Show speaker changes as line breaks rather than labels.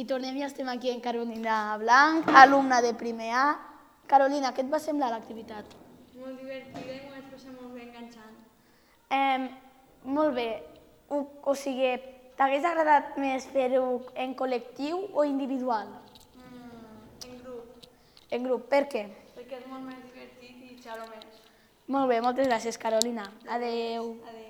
I tornem i estem aquí en Carolina Blanc, alumna de primer A. Carolina, què et va semblar l'activitat?
Molt divertida i m'ho vaig passar molt bé enganxant.
Eh, molt bé. O, o sigui, t'hagués agradat més fer-ho en col·lectiu o individual?
Mm, en grup,
En grup, per què?
perquè és molt més divertit i xalo més.
Molt bé, moltes gràcies, Carolina. Adeu.
Adéu.